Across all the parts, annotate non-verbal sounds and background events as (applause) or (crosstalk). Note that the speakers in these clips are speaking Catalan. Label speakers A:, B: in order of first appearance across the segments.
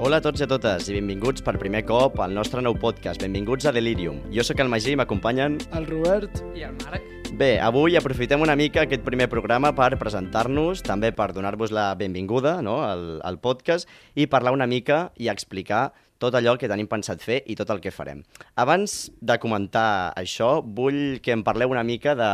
A: Hola a tots i a totes i benvinguts per primer cop al nostre nou podcast. Benvinguts a Delirium. Jo sóc el Magí i m'acompanyen...
B: el Robert.
C: I el Marc.
A: Bé, avui aprofitem una mica aquest primer programa per presentar-nos, també per donar-vos la benvinguda no? al, al podcast i parlar una mica i explicar tot allò que tenim pensat fer i tot el que farem. Abans de comentar això, vull que em parleu una mica de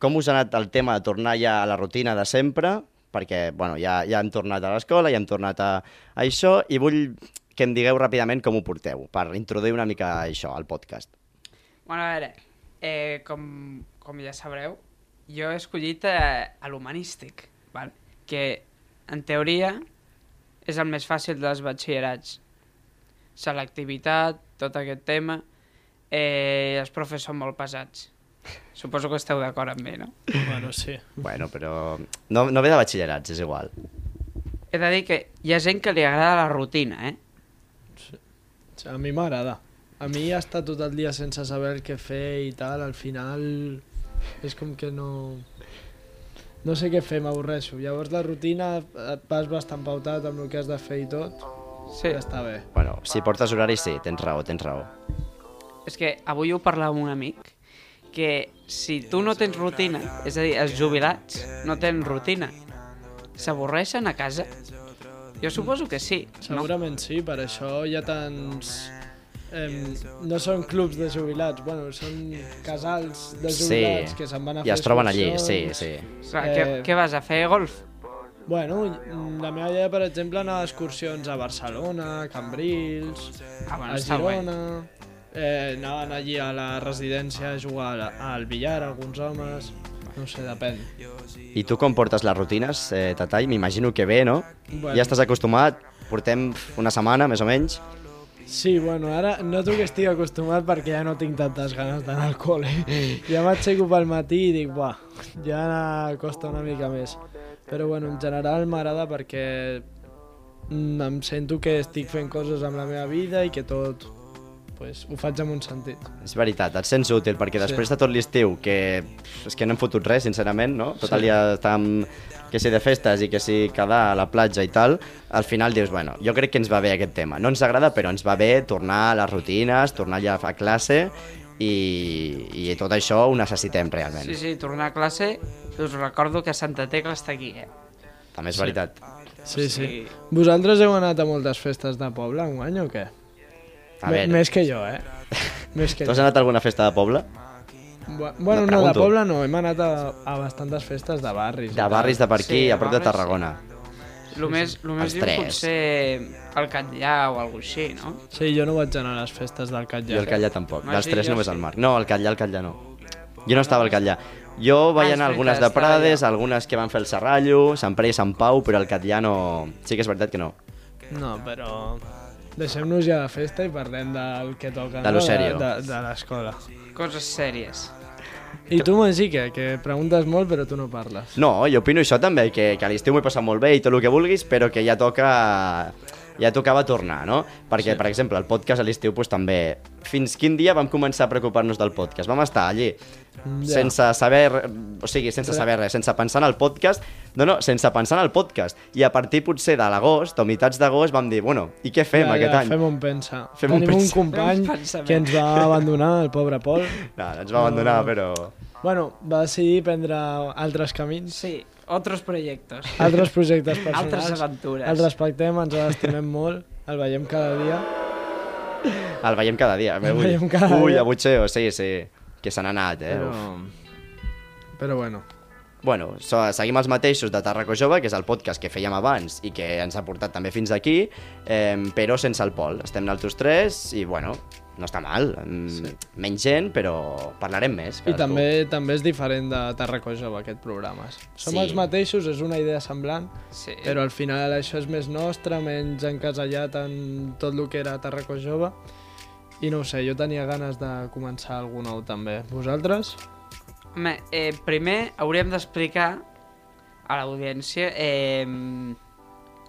A: com us ha anat el tema de tornar ja a la rutina de sempre, perquè bueno, ja, ja hem tornat a l'escola, ja hem tornat a, a això, i vull que em digueu ràpidament com ho porteu, per introduir una mica això al podcast.
C: Bueno, a veure, eh, com, com ja sabreu, jo he escollit eh, a l'humanístic, val? que en teoria és el més fàcil dels batxillerats. Selectivitat, tot aquest tema, eh, els profes són molt pesats. Suposo que esteu d'acord amb mi, no?
B: Bueno, sí.
A: Bueno, però no, no ve de batxillerats, és igual.
C: He de dir que hi ha gent que li agrada la rutina, eh?
B: A mi m'agrada. A mi estar tot el dia sense saber el que fer i tal, al final és com que no... No sé què fer, m'avorreixo. Llavors la rutina et vas bastant pautat amb el que has de fer i tot.
C: Sí.
B: Ja està bé.
A: Bueno, si portes horari, sí, tens raó, tens raó.
C: És que avui ho parlava amb un amic que si tu no tens rutina, és a dir, els jubilats no tenen rutina, s'avorreixen a casa? Jo suposo que sí. No?
B: Segurament sí, per això hi ha tants... Em, no són clubs de jubilats, bueno, són casals de jubilats que se'n van a
A: I
B: fer
A: es troben allí, sí,
B: excursions.
A: sí.
C: Clar, què,
B: Eh.
C: què vas a fer, golf?
B: Bueno, la meva idea, per exemple, anar d'excursions a Barcelona, a Cambrils,
C: Ah, bueno,
B: a
C: està guai.
B: Girona... Eh, anaven allí a la residència a jugar al, al billar, alguns homes... No ho sé, depèn.
A: I tu com portes les rutines, eh, Tatall? M'imagino que bé, no?
B: Bueno.
A: Ja estàs acostumat, portem pf, una setmana, més o menys.
B: Sí, bueno, ara noto que estic acostumat perquè ja no tinc tantes ganes d'anar al col·le.
A: Mm.
B: Ja m'aixeco pel matí i dic, buah, ja costa una mica més. Però bueno, en general m'agrada perquè mm, em sento que estic fent coses amb la meva vida i que tot pues, ho faig amb un sentit.
A: És veritat, et sents útil, perquè
B: Sí.
A: després de tot l'estiu, que pf, és que no hem fotut res, sincerament, no? Tot
B: Sí.
A: el dia estàvem que si de festes i que si quedar a la platja i tal, al final dius, bueno, jo crec que ens va bé aquest tema. No ens agrada, però ens va bé tornar a les rutines, tornar ja a classe i, i tot això ho necessitem realment.
C: Sí, sí, tornar a classe, us recordo que Santa Tecla està aquí, eh?
A: També és veritat.
B: Sí, sí.
C: sigui-
B: Vosaltres heu anat a moltes festes de poble enguany o què?
A: A
B: Me-
A: veure.
B: Més que jo,
A: (laughs)
B: eh? Més que
A: Tu
B: jo.
A: has anat a alguna festa de poble?
B: Bu-
A: No,
B: Bueno, no, de
A: pregunto.
B: poble no, hem anat a, a bastantes festes de barris.
A: De barris de per aquí,
C: Sí,
A: a prop de
C: barris,
A: Tarragona.
C: El més, lo
A: Els
C: més lluny
A: tres.
C: potser el Catllà o alguna així, no?
B: Sí, jo no vaig anar a les festes del Catllà.
A: Jo el Catllà tampoc.
C: No,
A: Dels
C: sí,
A: tres
C: jo
A: només
C: sí.
A: el Marc. No, el Catllà, el Catllà no. Jo no estava al Catllà. Jo
C: Ah,
A: vaig
C: és
A: anar a algunes de
C: veritat, estava
A: Prades,
C: allà.
A: algunes que van fer el Serrallo, Sant Pere i Sant Pau, però el Catllà no... Sí que és veritat que no.
B: No, però... Deixem-nos ja de festa i parlem del que toca,
A: De lo
B: no?
A: serio.
B: de, de l'escola.
C: Coses sèries.
B: I tu, Magí, què? Que preguntes molt però tu no parles.
A: No, jo opino això també, que, que a l'estiu m'ho he passat molt bé i tot el que vulguis, però que ja toca... Ja tocava tornar, no? Perquè, sí. per exemple, el podcast a l'estiu pues, també... Fins quin dia vam començar a preocupar-nos del podcast? Vam estar allí
B: Mm, Ja.
A: sense saber... re- O sigui, sense
B: Re-
A: saber res, sense pensar en el podcast. No, no, sense pensar en el podcast. I a partir potser de l'agost, o mitjans d'agost, vam dir, bueno, i què fem aquest any?
B: Fem un pensa.
A: Fem un
B: Tenim
A: pensa.
B: un company
C: Fem un pensament.
B: que ens va abandonar, el pobre Pol.
A: No, ens va abandonar,
B: Mm.
A: però...
B: Bueno, va decidir prendre altres camins,
C: Sí, otros proyectos.
B: altres projectes personals.
C: Altres aventures.
B: El respectem, ens l'estimem molt, el veiem cada dia.
A: El veiem cada dia. Ui,
B: veiem cada
A: ui
B: dia.
A: a Butxeo, sí, sí. Que se n'ha anat, eh? Però...
B: Però... Però bueno,
A: Bueno, so, seguim els mateixos de Tarraco Jove, que és el podcast que fèiem abans i que ens ha portat també fins aquí, eh, però sense el Pol. Estem nosaltres tres i, bueno, no està mal. Sí. Menys gent, però parlarem més.
B: I també, també és diferent de Tarraco Jove, aquest programa.
A: Sí.
B: Som
A: Eh.
B: els mateixos, és una idea semblant,
C: Sí.
B: però al final això és més nostre, menys encasellat en tot el que era Tarraco Jove. I no ho sé, jo tenia ganes de començar algú nou també. Vosaltres?
C: Home, eh, primer hauríem d'explicar a l'audiència eh,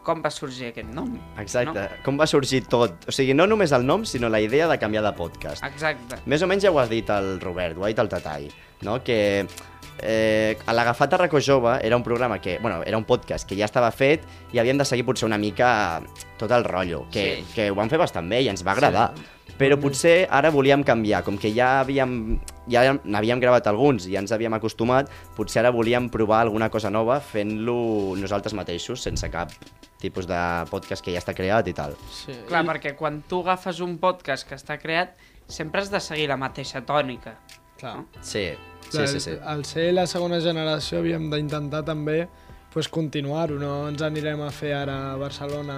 C: com va sorgir aquest nom.
A: Exacte. No? Com va sorgir tot? O sigui, no només el nom, sinó la idea de canviar de podcast.
C: No? Exacte.
A: Més o menys ja ho has dit el Robert, ho ha dit el Tatai, no? que eh, a l'agafat a Racó Jove era un programa que, bueno, era un podcast que ja estava fet i havíem de seguir potser una mica tot el rotllo, que,
C: Sí.
A: sí. que ho van fer bastant bé i ens va agradar. Sí. Però potser ara volíem canviar, com que ja havíem ja n'havíem gravat alguns i ja ens havíem acostumat, potser ara volíem provar alguna cosa nova fent-lo nosaltres mateixos, sense cap tipus de podcast que ja està creat i tal.
B: Sí.
C: Clar, perquè quan tu agafes un podcast que està creat, sempre has de seguir la mateixa tònica.
B: Clar.
A: Sí, sí,
B: Clar,
A: sí. sí.
B: Al ser la segona generació havíem d'intentar també pues, continuar-ho, no ens anirem a fer ara a Barcelona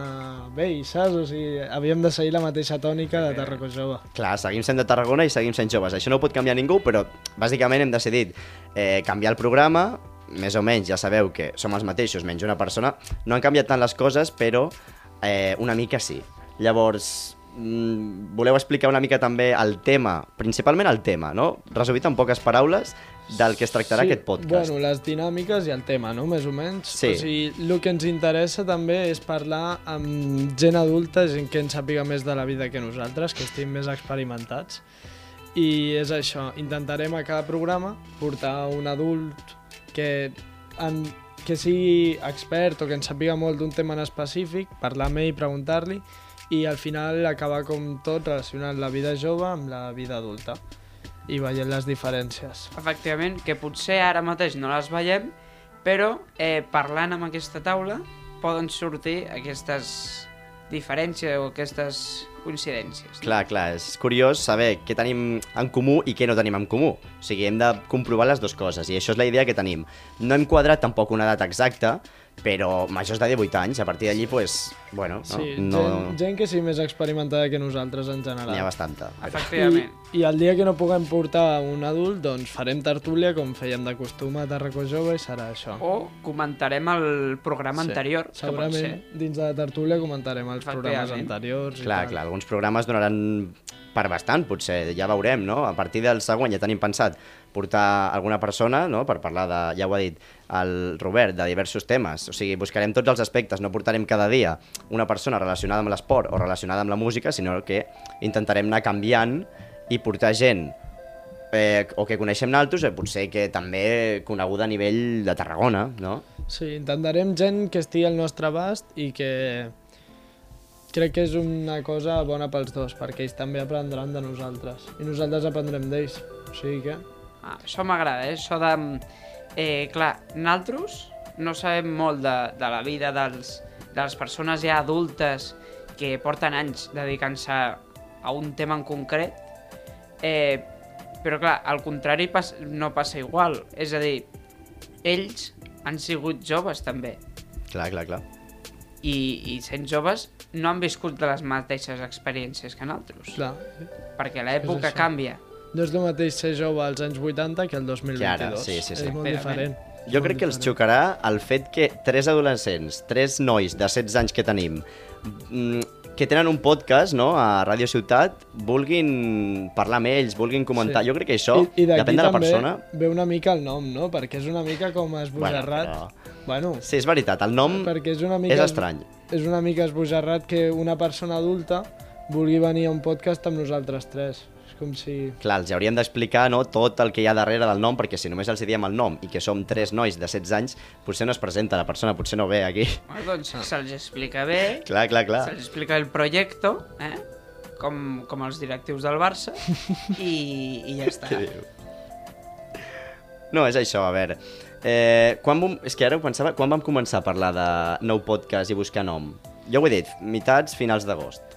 B: vell, saps? O sigui, havíem de seguir la mateixa tònica de Tarraco Jove.
A: Clar, seguim sent de Tarragona i seguim sent joves. Això no ho pot canviar ningú, però bàsicament hem decidit eh, canviar el programa, més o menys ja sabeu que som els mateixos, menys una persona. No han canviat tant les coses, però eh, una mica sí. Llavors, mm, voleu explicar una mica també el tema, principalment el tema, no? Resumit en poques paraules del que es tractarà aquest podcast.
B: Bueno, les dinàmiques i el tema, no? Més o menys.
A: Sí.
B: O sigui, el que ens interessa també és parlar amb gent adulta, gent que en sàpiga més de la vida que nosaltres, que estiguin més experimentats. I és això, intentarem a cada programa portar un adult que, en, que sigui expert o que en sàpiga molt d'un tema en específic, parlar amb ell i preguntar-li, i al final acabar com tot relacionant la vida jove amb la vida adulta i veient les diferències.
C: Efectivament, que potser ara mateix no les veiem, però eh, parlant amb aquesta taula poden sortir aquestes diferències o aquestes coincidències.
A: Clar, clar, és curiós saber què tenim en comú i què no tenim en comú. O sigui, hem de comprovar les dues coses i això és la idea que tenim. No hem quadrat tampoc una data exacta, però majors de 18 anys, a partir d'allí, pues, bueno, no,
B: Sí,
A: no
B: gent, gent que sigui més experimentada que nosaltres en general.
A: n'hi ha bastanta. Però,
B: I,
C: Efectivament.
B: I el dia que no puguem portar un adult, doncs farem tertúlia com fèiem de costum a Tarracó Jove i serà això.
C: O comentarem el programa
B: Sí.
C: anterior, que pot ser.
B: Segurament dins de la tertúlia comentarem els programes
C: Efectivament.
B: anteriors. i
A: clar,
B: tal.
A: clar, alguns programes donaran per bastant, potser, ja veurem, no? A partir del següent ja tenim pensat portar alguna persona, no?, per parlar de, ja ho ha dit el Robert, de diversos temes. O sigui, buscarem tots els aspectes, no portarem cada dia una persona relacionada amb l'esport o relacionada amb la música, sinó que intentarem anar canviant i portar gent eh, o que coneixem naltos, eh, potser que també coneguda a nivell de Tarragona, no?
B: Sí, intentarem gent que estigui al nostre abast i que crec que és una cosa bona pels dos, perquè ells també aprendran de nosaltres i nosaltres aprendrem d'ells. O sigui que...
C: Ah, això m'agrada, eh? Això de... Eh, clar, naltros no sabem molt de, de la vida dels, de les persones ja adultes que porten anys dedicant-se a un tema en concret, eh, però clar, al contrari pas, no passa igual. És a dir, ells han sigut joves també
A: Clar, clar, clar.
C: i, i sent joves no han viscut de les mateixes experiències que nosaltres,
B: Clar,
C: perquè l'època
B: això.
C: canvia.
B: no és el mateix ser jove als anys 80 que el 2022.
A: Que ara, sí, sí, sí.
B: És molt
C: Clarament.
B: diferent.
A: Jo
B: Molt
A: crec que els
B: diferent.
A: xocarà el fet que tres adolescents, tres nois de 16 anys que tenim, mm, que tenen un podcast no, a Ràdio Ciutat, vulguin parlar amb ells, vulguin comentar. Sí. Jo crec que això,
B: I, i d'aquí
A: depèn de la
B: també
A: persona...
B: ve una mica el nom, no? Perquè és una mica com esbojarrat.
A: Bueno,
B: Bueno,
A: Sí, és veritat, el nom
B: perquè és una mica...
A: és estrany.
B: És una mica esbojarrat que una persona adulta vulgui venir a un podcast amb nosaltres tres. És com si...
A: Clar, els hauríem d'explicar no, tot el que hi ha darrere del nom, perquè si només els diem el nom i que som tres nois de 16 anys, potser no es presenta la persona, potser no ve aquí. (laughs)
B: Ah.
C: Bueno, doncs se'ls explica bé,
A: Clar, clar, clar.
C: Se'ls explica el projecte, eh? Com, com els directius del Barça, i, i ja està.
A: Què diu? No, és això, a veure. Eh, quan vam, és que ara ho pensava, quan vam començar a parlar de nou podcast i buscar nom? Jo ho he dit, mitats, finals d'agost.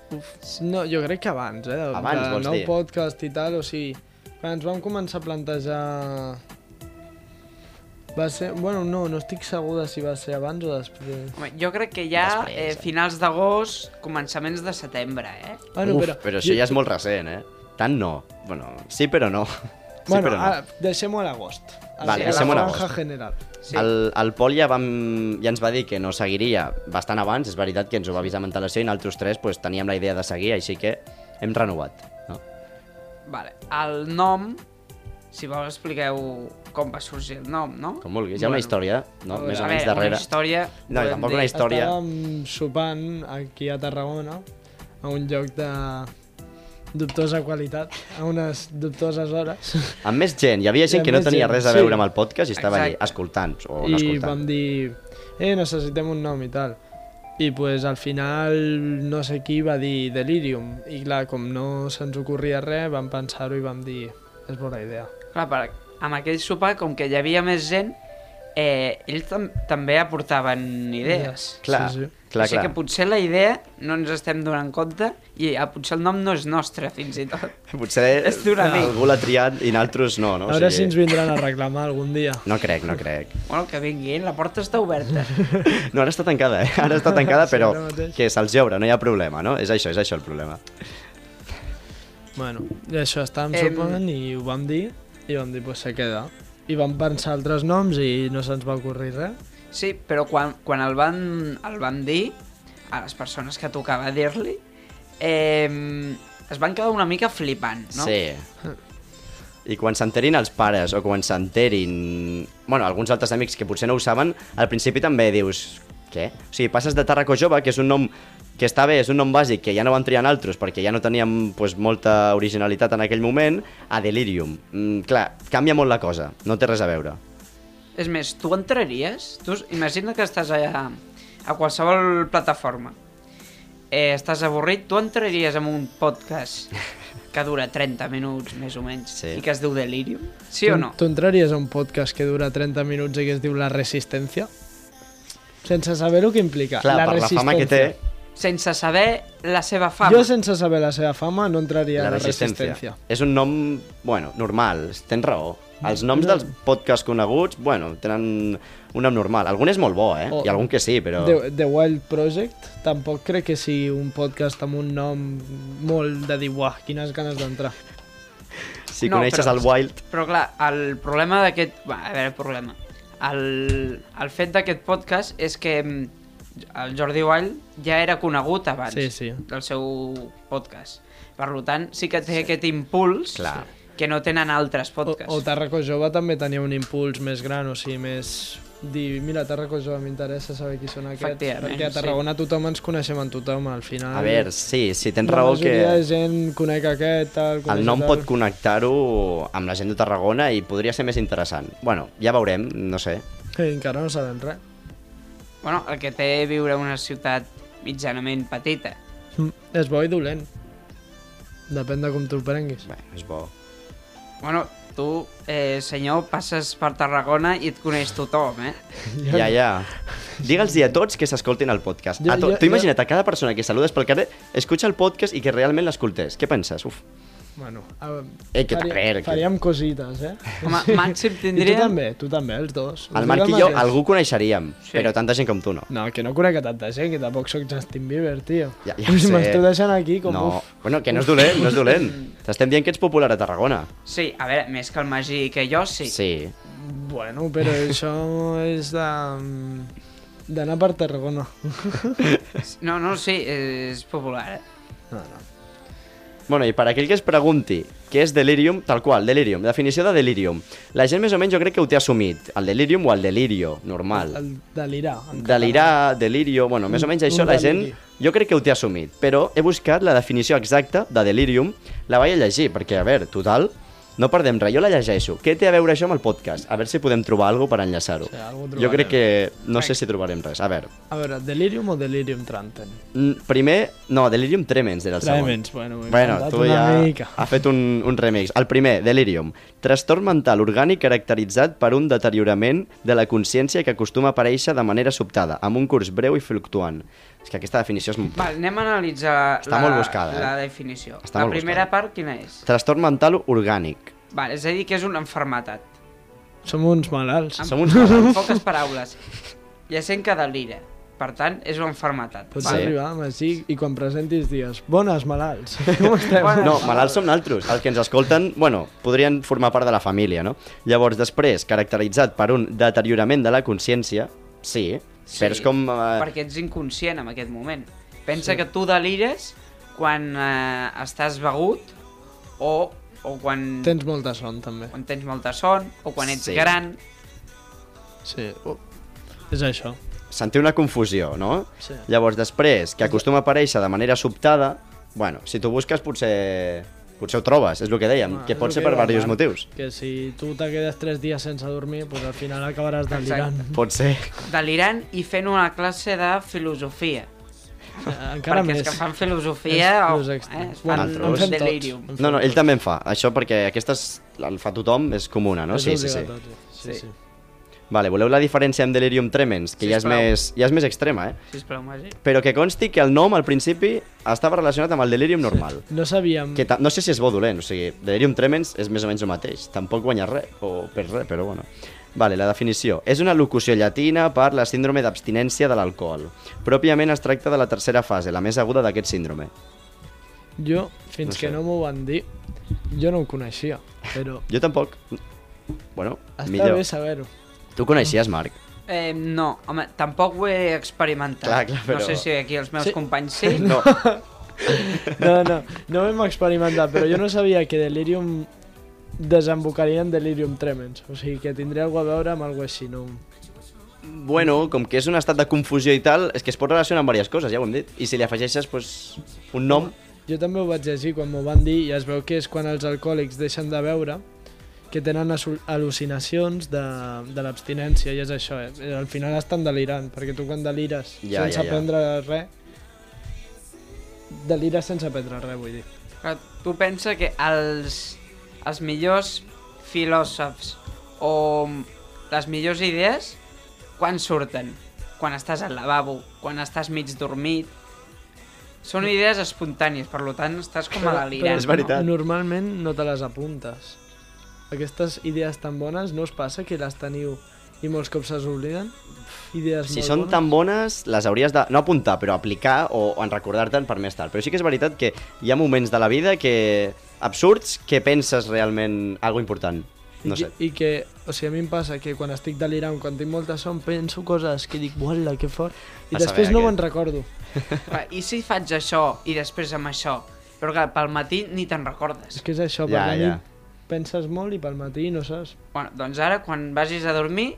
B: No, jo crec que abans, eh? de-
A: Abans,
B: de
A: vols
B: nou
A: dir?
B: podcast i tal, o sigui... Quan ens vam començar a plantejar Va ser... Bueno, no, no estic segur de si va ser abans o després.
C: Home, jo crec que ja eh,
A: Després, eh.
C: finals d'agost, començaments de setembre, eh?
B: Bueno,
A: Uf,
B: però...
A: però això ja és molt recent, eh? Tant no. Bueno, sí però no. (laughs) Sí
B: Bueno,
A: però no.
B: ah, deixem-ho a l'agost.
A: Vale,
B: a la
C: deixem-ho a
B: franja
A: l'agost.
B: general.
C: Sí.
A: El, el Pol ja, vam, ja ens va dir que no seguiria bastant abans, és veritat que ens ho va avisar amb antelació i nosaltres tres pues, teníem la idea de seguir, així que hem renovat. No?
C: Vale. El nom, si vols expliqueu com va sorgir el nom, no?
A: Com vulguis, hi ha una història, no?
C: a
A: més o
C: veure,
A: menys darrere.
C: Una història...
A: No, i
C: podem
A: tampoc
C: dir-
A: una història.
B: Estàvem sopant aquí a Tarragona, a un lloc de dubtosa qualitat, a unes dubtoses hores,
A: Amb més gent, hi havia
B: Hi
A: gent
B: ha
A: que no
B: més
A: tenia
B: gent,
A: res a
B: sí.
A: veure amb el podcast i estava allí
C: Exacte.
A: escoltant (laughs) o no
B: i
A: escoltant.
B: vam dir, eh, necessitem un nom i tal. I pues, al final no sé qui va dir Delirium, i clar, com no se'ns ocorria res, vam pensar-ho i vam dir, és bona idea.
C: Clar, per, amb aquell sopar, com que hi havia més gent, eh, ells tam també aportaven idees.
A: Clar,
B: Sí, sí.
A: clar,
C: o sigui
A: clar.
C: que potser la idea no ens estem donant compte i eh, potser el nom no és nostre, fins i tot. (laughs)
A: Eh, Potser
C: És d'un amic.
A: algú l'ha triat i nosaltres no, no?
B: A veure si ens vindran a reclamar algun dia.
A: No crec, no
B: (laughs)
A: crec.
C: Bueno, que vinguin, la porta està
A: (laughs)
C: oberta.
A: No, ara està tancada, eh? Ara està tancada,
B: Sí,
A: però
B: ara mateix.
A: que se'ls obre, no hi ha problema, no? És això, és això el problema.
B: Bueno, i això estàvem
C: Em-
B: em... sopant i ho vam dir, i vam dir, pues se queda. I vam pensar altres noms i no se'ns va ocorrir res.
C: Sí, però quan, quan el, van, el van dir, a les persones que tocava dir-li, eh, es van quedar una mica flipant, no?
A: Sí. I quan s'enterin els pares o quan s'enterin... Bueno, alguns altres amics que potser no ho saben, al principi també dius... Què? O sigui, passes de Tarraco Jove, que és un nom que està bé, és un nom bàsic que ja no van triar altres perquè ja no teníem pues, molta originalitat en aquell moment, a Delirium. Mm, clar, canvia molt la cosa, no té res a veure.
C: És més, tu entraries, tu s- imagina que estàs allà a qualsevol plataforma, eh, estàs avorrit, tu entraries en un
A: (laughs)
C: podcast que dura 30 minuts, més o menys,
A: Sí.
C: i que es diu Delirium, sí o
B: Tu-
C: no?
B: Tu entraries a un podcast que dura 30 minuts i que es diu La Resistència? Sense saber el que implica.
A: Clar,
B: la
A: per la fama que té,
B: Resistència.
C: Sense saber la seva fama.
B: Jo sense saber la seva fama no entraria
A: la
B: a La
A: resistència.
B: Resistència.
A: És un nom, bueno, normal, tens raó. Els noms dels podcasts coneguts, bueno, tenen un nom normal. Algun és molt bo, eh?
B: O-
A: I algun que sí, però...
B: The, The Wild Project tampoc crec que sigui un podcast amb un nom molt de dir, uah, quines ganes d'entrar.
A: Si
C: No,
A: coneixes
C: però-
A: el Wild...
C: Però clar, el problema d'aquest... Bé, a veure, el problema. El, el fet d'aquest podcast és que mm, el Jordi Wild ja era conegut abans
B: Sí, sí.
C: del seu podcast. Per lo tant, sí que té sí. aquest impuls
A: Clar.
C: que no tenen altres
B: O,
C: podcasts.
B: o Tarraco Jove també tenia un impuls més gran, o sigui, més dir, mira, Tarraco Jove m'interessa saber qui són aquests,
C: Efectivament,
B: perquè a
C: sí.
B: Tarragona tothom ens coneixem en tothom, al final.
A: A veure, sí, sí, tens
B: la
A: raó que
B: majoria de gent conec aquest, tal,
A: el
B: coneix
A: nom
B: tal.
A: pot connectar-ho amb la gent de Tarragona i podria ser més interessant. Bueno, ja veurem, no sé.
B: Que encara no sabem res.
C: Bueno, el que té viure en una ciutat mitjanament petita.
B: Mm, És bo i dolent. Depèn de com tu ho prenguis.
A: Bé, és bo.
C: Bueno, tu, eh, senyor, passes per Tarragona i et coneix tothom,
B: (laughs)
C: eh?
A: Ja, ja. Diga'ls a tots que s'escoltin el podcast.
B: Jo-
A: A to...
B: jo-
A: tu
B: jo-
A: imagina't a cada persona que saludes pel carrer, escucha el podcast i que realment l'escoltés. Què penses? Uf.
B: Bueno, a...
A: Eh, que darrer, que-
B: faríem cosites, eh?
C: Home,
B: I
C: màxim
B: tu
C: tindríem...
B: també, tu també, els dos.
A: El
B: Tu
A: Marc i
B: també
A: jo
B: tens.
A: algú coneixeríem,
C: Sí.
A: sí. però tanta gent com tu no.
B: No, que no conec a tanta gent, que tampoc sóc Justin Bieber, tio.
A: Ja, ja ho sé.
B: M'esteu deixant aquí com...
A: no.
B: Uf.
A: Bueno, que no és dolent, no és dolent. T'estem dient que ets popular a Tarragona.
C: Sí, a veure, més que el Magí i que jo, sí.
A: sí.
B: Bueno,
A: (laughs)
B: però això és de... mm, d'anar per Tarragona.
C: No, no, sí, és popular. eh?
B: No, no.
A: Bueno, i per aquell que es pregunti què és delirium, tal qual, delirium, definició de delirium. La gent més o menys jo crec que ho té assumit, el delirium o el delirio, normal.
B: El delirar. en
A: Delirar, delirio, bueno, més o menys
B: Un-
A: això
B: un
A: la gent
B: deliri.
A: jo crec que ho té assumit, però he buscat la definició exacta de delirium, la vaig a llegir, perquè, a veure, total, no perdem res, jo la llegeixo. Què té a veure això amb el podcast? A veure si podem trobar alguna per enllaçar-ho.
B: Sí, algo
A: jo
B: trobarem.
A: crec que no sé si trobarem res. A veure,
B: català. A veure, delirium o delirium tranten?
A: mm, primer... No, delirium tremens era el segon.
B: Tremens, bueno, ho he
A: Bueno,
B: inventat
A: tu
B: una
A: ja
B: mica.
A: ha fet un, un remix. El primer, Delirium. Trastorn mental orgànic caracteritzat per un deteriorament de la consciència que acostuma a aparèixer de manera sobtada, amb un curs breu i fluctuant. És que aquesta definició és...
C: Va, anem a analitzar
A: Està
C: la,
A: molt buscada, eh?
C: la definició.
A: Està
C: la
A: molt
C: primera
A: buscada.
C: part, quina és?
A: Trastorn mental orgànic.
C: Vale, és a dir, que és una enfermetat.
B: Som uns malalts.
C: Amb,
A: Som uns
C: en
A: malalts.
C: poques paraules. Ja sent que delira. Per tant, és una enfermetat.
B: Pots
A: Sí.
B: arribar, Magí, i quan presentis dies, bones
A: (laughs)
B: malalts, com esteu?
C: Bona-
A: No, malalts som naltros. Els que ens escolten, bueno, podrien formar part de la família, no? Llavors, després, caracteritzat per un deteriorament de la consciència, sí, sí però és com... Eh,
C: Perquè ets inconscient en aquest moment. Pensa sí. que tu delires quan eh, estàs begut o, o quan,
B: Tens molta son, també.
C: quan tens molta son o quan ets
A: Sí.
C: sí. gran.
B: Sí. Oh. És això.
A: sentir una confusió, no?
B: Sí.
A: Llavors, després, que acostuma a aparèixer de manera sobtada, bueno, si tu busques potser, potser ho trobes, és el que dèiem,
B: Ah,
A: que
B: és
A: pot
B: el
A: ser
B: que
A: per
B: diu el
A: diversos
B: Marc,
A: motius.
B: Que si tu te quedes tres dies sense dormir, pues al final acabaràs delirant.
A: Pot ser.
C: Delirant i fent una classe de filosofia.
B: Encara
C: perquè
B: més.
C: els que fan filosofia
B: És
C: o,
B: plus
C: eh,
B: extra.
C: es
B: Bueno,
C: fan
A: en
C: un
A: fem
B: tots.
C: delirium.
A: No, no, ell també en fa, això perquè aquesta és, el fa tothom, és comuna, no?
B: És
A: Sí, sí, sí.
B: obligatori. Sí,
C: Sí.
B: sí.
A: Vale, voleu la diferència amb Delirium Tremens, que ja és,
C: Sisplau.
A: més, ja és més extrema, eh?
C: Sisplau, Magí.
A: Però que consti que el nom al principi estava relacionat amb el delirium normal.
B: No sabíem...
A: Mm. Que ta- no sé si és bo o dolent, o sigui, delirium tremens és més o menys el mateix. Tampoc guanyes res, o perds res, però bueno. Vale, la definició. És una locució llatina per la síndrome d'abstinència de l'alcohol. Pròpiament es tracta de la tercera fase, la més aguda d'aquest síndrome.
B: Jo, fins
A: No
B: que
A: sé.
B: no m'ho van dir, jo no ho coneixia,
A: (laughs)
B: però
A: Jo tampoc. Bueno,
B: està
A: millor.
B: bé saber-ho.
A: Tu coneixies, Marc?
C: Eh, no, home, tampoc ho he experimentat.
A: Clar, clar, però-
C: No sé si aquí els meus
B: Sí.
C: sí.
B: (laughs)
C: companys sí.
A: No.
B: No, no, no vam experimentar, però jo no sabia que Delirium desembocaria en Delirium Tremens, o sigui que tindria alguna a veure amb alguna així, no?
A: Bueno, com que és un estat de confusió i tal, és que es pot relacionar amb diverses coses, ja ho hem dit. I si li afegeixes, pues, un nom...
B: Jo també ho vaig llegir quan m'ho van dir i es veu que és quan els alcohòlics deixen de beure que tenen asu- al·lucinacions de, de l'abstinència i és això, eh? al final estan delirant perquè tu quan delires
A: Ja,
B: sense
A: ja, ja.
B: aprendre res delires sense aprendre res, vull dir
C: Clar, tu pensa que els, els millors filòsofs o les millors idees, quan surten? Quan estàs al lavabo, quan estàs mig dormit... Són idees espontànies, per lo tant estàs com a
B: Però
C: delirant.
A: És veritat.
B: no- Normalment no te les apuntes. Aquestes idees tan bones no us passa que les teniu i molts cops se us obliden? Idees
A: Si
B: molt
A: són
B: bones.
A: tan bones, les hauries de, no apuntar, però aplicar o, o en recordar-te'n per més tard. Però sí que és veritat que hi ha moments de la vida que absurds que penses realment algo important. No
B: I,
A: sé.
B: que- I que, o sigui, a mi em passa que quan estic delirant, quan tinc molta son, penso coses que dic, uala, que fort, i
A: A
B: després
A: saber
B: no
A: què.
B: me'n recordo.
C: Clar, I si faig això i després amb això? Però clar, pel matí ni te'n recordes.
B: És que és això,
A: Ja,
B: perquè
A: ja.
B: a mi penses molt i pel matí no saps.
C: Bueno, doncs ara, quan vagis a dormir...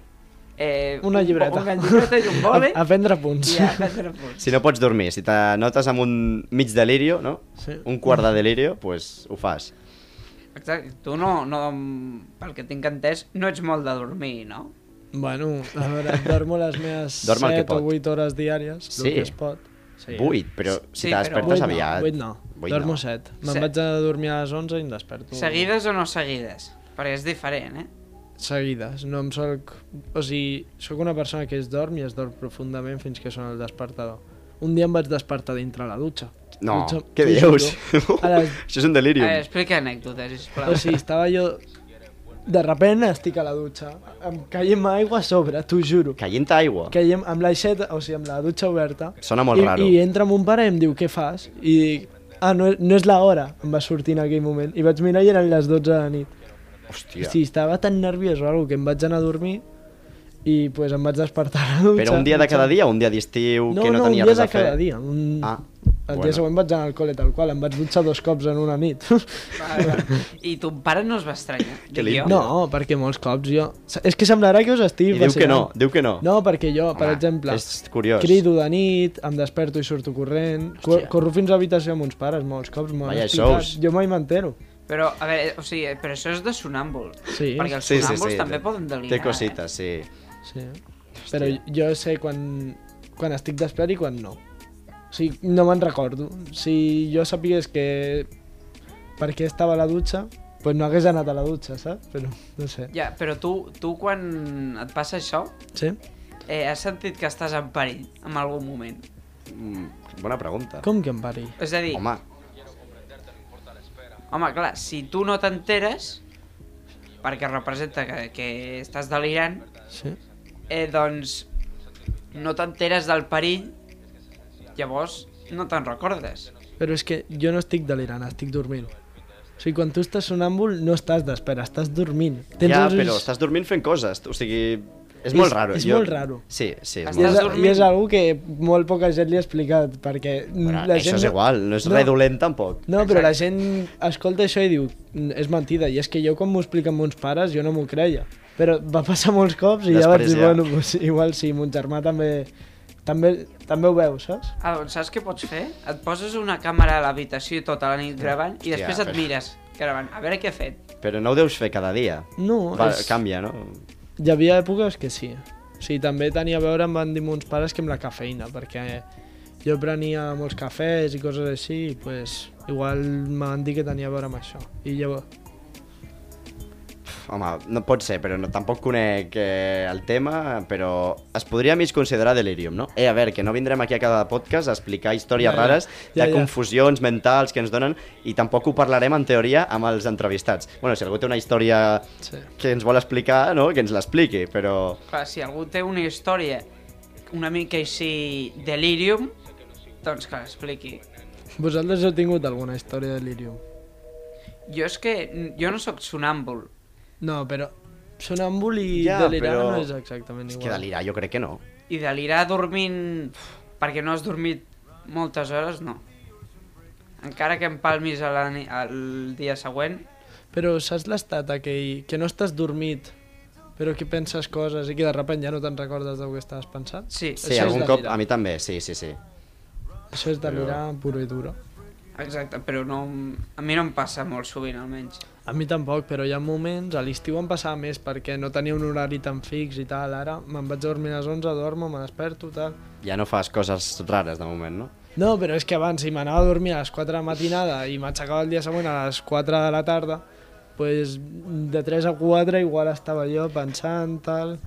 C: Eh,
B: Una
C: un-
B: llibreta.
C: Una llibreta i un
B: (laughs)
C: boli.
B: A, a prendre punts.
C: I a prendre apunts.
A: Si no pots dormir, si te notes amb un mig delirio, no?
B: Sí.
A: Un quart de delirio, pues ho fas.
C: Exacte, tu no, no, pel que tinc entès, no ets molt de dormir, no?
B: (laughs) Bueno, a veure, dormo les meves
A: Dorm el que
B: 7 o
A: pot.
B: 8 hores diàries,
A: Sí.
B: el que es pot.
A: Sí. Vuit, però si
C: Sí,
A: te
C: però-
A: despertes
B: Vuit no,
A: aviat...
B: Vuit no,
A: Vuit
B: dormo
A: no.
B: 7. Me'n
C: Set.
B: vaig a dormir a les 11 i em desperto.
C: Seguides o no seguides? Perquè és diferent, eh?
B: Seguides, no em solc... O sigui, sóc una persona que es dorm i es dorm profundament fins que sona el despertador. Un dia em vaig despertar dintre la dutxa.
A: No,
B: Dutxa-
A: què
B: t'ho
A: dius?
B: juro. A les...
A: (laughs) Això és un
C: A
A: delirium.
C: veure, explica anècdotes, sisplau.
B: O sigui, estava jo... De repent estic a la dutxa, em caiem aigua a sobre, t'ho juro.
A: Caient aigua.
B: Caiem amb l'aixeta, o sigui, amb la dutxa oberta.
A: Sona molt
B: I,
A: raro.
B: I entra mon pare i em diu, què fas? I dic, ah, no, és- no és l'hora. Em va sortir en aquell moment. I vaig mirar i eren les 12 de la nit.
A: Hòstia.
B: Sí, estava tan nerviós o alguna que em vaig anar a dormir i pues, em vaig despertar a la dutxa.
A: Però un dia de cada dia o un dia d'estiu que no, tenia
B: un dia
A: res a
B: de
A: fer?
B: cada dia. Un...
A: Ah,
B: el
A: bueno.
B: dia següent vaig anar al col·le tal qual, em vaig dutxar dos cops en una nit.
C: I ton pare no es va estranyar,
A: Que
C: dic
A: lindo.
C: jo.
B: (laughs) no, perquè molts cops jo... És que semblarà que us estigui
A: I diu que no,
B: vacil·lant.
A: diu que no.
B: No, perquè jo, per
A: Home,
B: exemple,
A: És curiós.
B: crido de nit, em desperto i surto corrent, cor
A: Hòstia.
B: corro fins a l'habitació amb uns pares molts cops, m'ho han
A: Vaya
B: explicat,
A: shows.
B: jo mai m'entero.
C: Però, a veure, o sigui, però això és de sonàmbul.
B: Sí.
C: Perquè els sonàmbuls també poden delirar, eh?
A: Té cosites, sí.
B: Sí. Però jo sé quan, quan estic despert i quan no. O sigui, no me'n recordo. Si jo sapigués que per què estava a la dutxa, pues no hagués anat a la dutxa, saps? Però no sé.
C: Eh? Ja, però tu, tu quan et passa això,
B: Sí?
C: eh, has sentit que estàs en perill en algun moment.
A: Mm, bona pregunta.
B: Com que em pari?
C: És a dir,
A: Home,
C: Home, clar, si tu no t'enteres, perquè representa que, que estàs delirant,
B: Sí?
C: eh, doncs no t'enteres del perill, llavors no te'n recordes.
B: Però és que jo no estic delirant, estic dormint. O sigui, quan tu estàs sonàmbul no estàs d'espera, estàs dormint.
A: Ja,
B: els ulls-
A: però estàs dormint fent coses, o sigui... És
B: És-
A: molt raro.
B: és molt raro.
A: Sí, sí, és
C: Estàs
B: I
A: molt
B: és,
A: raro.
C: dormint.
B: I és algo que molt poca gent li ha explicat, perquè
A: Bueno,
B: la
A: això
B: gent...
A: és igual, no és no. res dolent tampoc.
B: No, però la gent escolta això i diu, "Mm, és mentida, i és que jo quan m'ho expliquen mons pares jo no m'ho creia. Però va passar molts cops i ja vaig
A: Després
B: dir,
A: ja.
B: bueno, pues, igual sí, mon germà també, també, també ho veu, saps?
C: Ah, doncs saps què pots fer? Et poses una càmera a l'habitació tota la nit gravant i
A: Hòstia,
C: després et
A: però-
C: mires gravant, a veure què he fet.
A: Però no ho deus fer cada dia.
B: No,
A: Va,
B: és-
A: Canvia, no?
B: Hi havia èpoques que sí. O sigui, també tenia a veure, em van dir mons pares, que amb la cafeïna, perquè jo prenia molts cafès i coses així, i pues, igual m'han dit que tenia a veure amb això. I llavors,
A: Pff, Home, no pot ser, però no, tampoc conec eh, el tema, però es podria mig considerar delirium, no? Eh, a veure, que no vindrem aquí a cada podcast a explicar històries
B: Ja, ja.
A: rares
B: Ja,
A: de
B: ja.
A: confusions mentals que ens donen i tampoc ho parlarem en teoria amb els entrevistats. Bueno, si algú té una història
B: sí.
A: que ens vol explicar, no? que ens l'expliqui, però...
C: Clar, si algú té una història una mica així delirium, doncs que l'expliqui.
B: Vosaltres heu tingut alguna història de delirium?
C: Jo és que n- jo no sóc sonàmbul.
B: No, però sonàmbul i
A: Ja,
B: delirant
A: però-
B: no és exactament
A: És
B: igual.
A: que delirar jo crec que no.
C: I delirar dormint pf, perquè no has dormit moltes hores, no. Encara que empalmis a la ni- al dia següent,
B: Però saps l'estat aquell que no estàs dormit, però que penses coses i que de repente ja no te'n recordes del que estaves pensant?
C: sí,
A: Sí,
B: Això és
A: algun cop,
B: delirar.
A: a mi també, sí, sí, sí.
B: Això és delirar puro i duro.
C: exacte, però no, em- a mi no em passa molt sovint, almenys.
B: A mi tampoc, però hi ha moments, a l'estiu em passava més perquè no tenia un horari tan fix i tal, ara me'n vaig a dormir a les 11, dormo, me desperto, tal...
A: Ja no fas coses rares de moment, no?
B: No, però és que abans, si m'anava a dormir a les 4 de la matinada i m'aixecava el dia següent a les 4 de la tarda, pues, de 3 a 4 igual estava jo pensant, tal...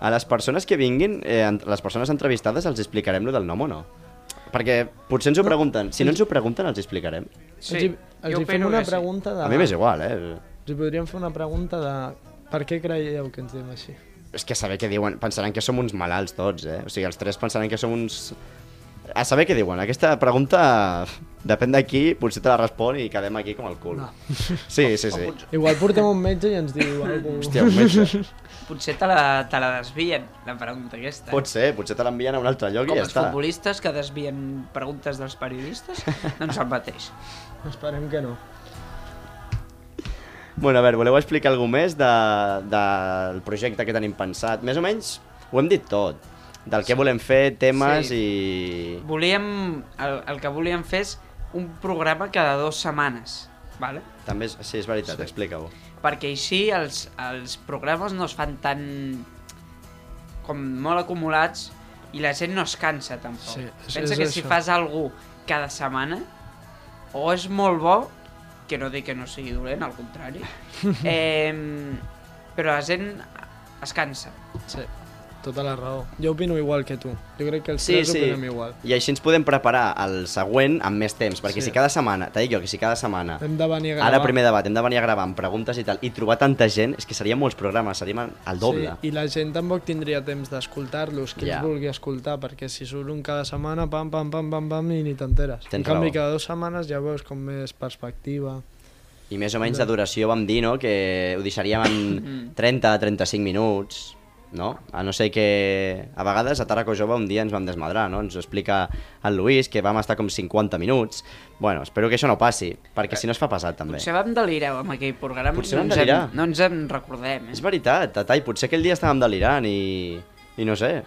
A: A les persones que vinguin, eh, en- les persones entrevistades, els explicarem lo del nom o no? Perquè potser ens ho pregunten. Si no
C: Mm.
A: ens ho pregunten, els explicarem.
C: Sí,
B: els hi, els
C: jo
B: hi fem
C: opino
B: una
C: que sí.
B: pregunta de...
A: A mi m'és igual, eh?
B: Els hi podríem fer una pregunta de... Per què creieu que ens diem així?
A: És que saber què diuen... Pensaran que som uns malalts tots, eh? O sigui, els tres pensaran que som uns... A saber què diuen. Aquesta pregunta depèn de qui, potser te la respon i quedem aquí com el cul.
B: No.
A: Sí, sí, sí.
B: Igual portem un metge i ens diu alguna
A: Hòstia, un
C: (laughs)
A: metge.
C: Potser te la, te la desvien, la pregunta aquesta.
A: Pot ser, potser te l'envien a un altre lloc
C: Com
A: i ja
C: els
A: està.
C: futbolistes que desvien preguntes dels
B: (laughs)
C: periodistes, doncs el mateix.
B: Esperem que no.
A: Bueno, a veure, voleu explicar alguna més de, del projecte que tenim pensat? Més o menys ho hem dit tot, del que volem fer, temes
C: Sí.
A: sí. i...
C: Volíem, el, el que volíem fer és un programa cada dues setmanes, vale?
A: També és, sí, és veritat, sí. explica-ho.
C: perquè així els, els programes no es fan tan com molt acumulats i la gent no es cansa tampoc.
B: Sí, és-
C: Pensa
B: és
C: que si
B: això.
C: fas algú cada setmana o és molt bo, que no dic que no sigui dolent, al
B: (laughs)
C: contrari, eh, però la gent es cansa.
B: Sí, tota la raó. Jo opino igual que tu. Jo crec que els
A: Sí,
B: tres
A: sí.
B: opinem igual.
A: I així ens podem preparar el següent amb més temps, perquè
B: Sí.
A: sí. si cada setmana, t'he dit jo que si cada setmana,
B: Hem de venir a gravar.
A: ara primer debat, hem de venir a gravar amb preguntes i tal, i trobar tanta gent, és que serien molts programes, seríem el doble.
B: Sí, I la gent tampoc tindria temps d'escoltar-los, qui
A: Ja.
B: els vulgui escoltar, perquè si surt un cada setmana, pam, pam, pam, pam, pam, i ni t'enteres.
A: Tens
B: En canvi,
A: raó.
B: cada dues setmanes ja veus com més perspectiva.
A: I més o menys de duració vam dir, no?, que ho deixaríem
C: Mm.
A: en 30-35 minuts, no? A no ser que a vegades a Taraco Jove un dia ens vam desmadrar, no? Ens ho explica el Lluís, que vam estar com 50 minuts. Bueno, espero que això no passi, perquè si no es fa pesat, també.
C: Potser vam delirar amb aquell programa
A: Potser
C: i
A: vam
C: no, ens
A: delirar.
C: en, no ens en recordem.
A: És
C: Eh?
A: veritat, Tatai, potser aquell dia estàvem delirant i... I no sé,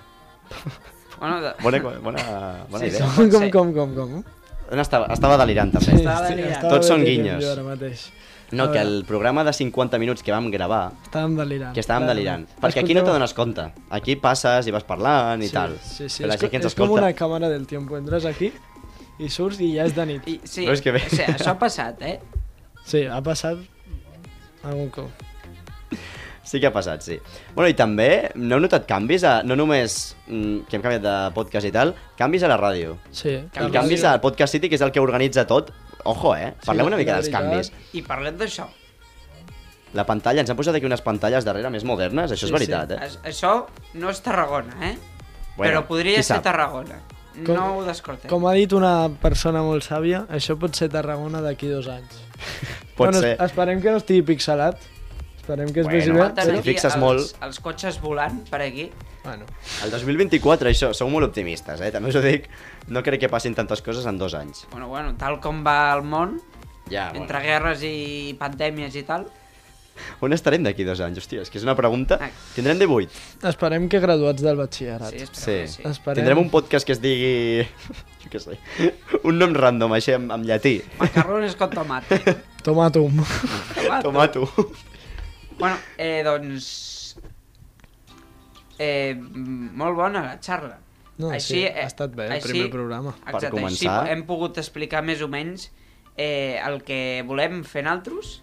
C: Bueno, de...
A: bona, bona, bona
C: Sí,
A: idea.
C: sí.
B: Com, com,
C: Sí.
B: com, com, com?
A: On estava? Estava delirant, també.
C: Estava
B: Sí,
C: delirant.
B: estava
A: Tots són
B: delirant
A: guinyos.
B: Jo ara mateix.
A: No, que el programa de 50 minuts que vam gravar,
B: Estàvem delirant.
A: que estàvem
B: clarament.
A: delirant. Perquè aquí no
B: Escolteu-
A: t'adones compte. Aquí passes i vas parlant i
B: sí,
A: tal.
B: Sí, sí,
A: Però la
B: és,
A: gent
B: co-
A: que ens
B: és com
A: escolta...
B: una càmera del tiempo. Entres aquí i surts i ja és de nit.
C: I, sí,
A: Veus que bé?
C: o sigui, això ha passat, eh?
B: Sí, ha passat algun cop.
A: Sí que ha passat, sí. Bueno, i també no heu notat canvis, a, no només mm, que hem canviat de podcast i tal, canvis a la ràdio.
B: Sí.
A: I
C: Canvis.
A: canvis al Podcast City, que és el que organitza tot. Ojo, eh? Parlem
B: la
A: una mica dels
B: veritat.
A: canvis.
C: I parlem d'això.
A: La pantalla, ens han posat aquí unes pantalles darrere més modernes, això
B: Sí,
A: és veritat, eh?
C: As- Això no és Tarragona, eh?
A: Bueno,
C: Però podria
A: qui
C: ser
A: sap?
C: Tarragona.
B: Com-
C: no ho descartem.
B: Com ha dit una persona molt sàvia, això pot ser Tarragona d'aquí dos anys.
A: Pot
B: bueno,
A: ser.
B: es- Esperem que no estigui pixelat. Esperem que es
A: Bueno,
B: vegi bé.
C: Falten
A: si t'hi
B: Però...
C: aquí
A: fixes
C: els,
A: molt-
C: els cotxes volant per aquí.
B: Bueno,
A: El 2024, això, sou molt optimistes, eh? També us ho dic, no crec que passin tantes coses en dos anys.
C: Bueno, bueno, tal com va el món,
A: Ja, Ah, bueno.
C: entre guerres i pandèmies i tal,
A: On estarem d'aquí dos anys? Hòstia, és que és una pregunta...
C: Ah.
A: Tindrem 18.
B: esperem que graduats del batxillerat.
C: sí, espero
A: Sí.
C: que sí.
B: Esperem.
A: Tindrem un podcast que es digui... (laughs) Jo què sé. Un nom random, així, amb, amb llatí.
C: Macarrones con tomate.
A: (laughs)
B: Tomàtum.
C: Tomato.
A: Tomato.
C: Bueno, eh, doncs... Eh, molt bona la xarla.
B: No, sí, ha estat bé el primer programa.
A: Per
C: Exacte, així
A: començar.
C: hem pogut explicar més o menys eh, el que volem fer naltros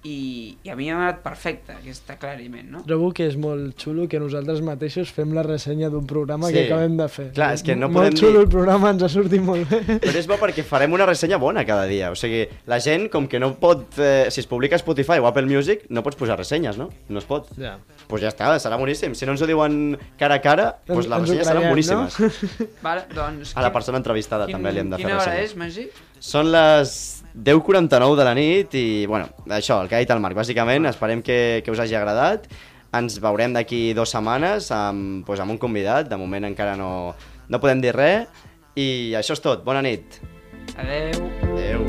C: i, i a mi m'ha anat perfecte aquest aclariment, no?
B: (laughs) Trobo que és molt xulo que nosaltres mateixos fem la ressenya d'un programa que
A: Sí.
B: acabem de fer.
A: Clar, és que no
B: molt
A: podem
B: xulo
A: dir-
B: el programa, ens ha sortit molt bé.
A: Però és bo perquè farem una ressenya bona cada dia. O sigui, la gent, com que no pot... Eh, si es publica a Spotify o Apple Music, no pots posar ressenyes, no? No es pot. Doncs
B: Ja.
A: pues ja està, serà boníssim. Si no ens ho diuen cara a cara, doncs pues les
B: Ens ho
A: ressenyes seran
B: creiem,
A: boníssimes.
B: no?
C: Vale, doncs,
A: A la persona entrevistada també li hem de fer
C: quina hora
A: ressenya.
C: és, Magí?
A: Són les 10.49 de la nit i, bueno, això, el que ha dit el Marc, bàsicament, esperem que, que us hagi agradat. Ens veurem d'aquí dues setmanes amb, doncs, amb un convidat, de moment encara no, no podem dir res. I això és tot, bona nit.
C: Adeu.
A: Adéu.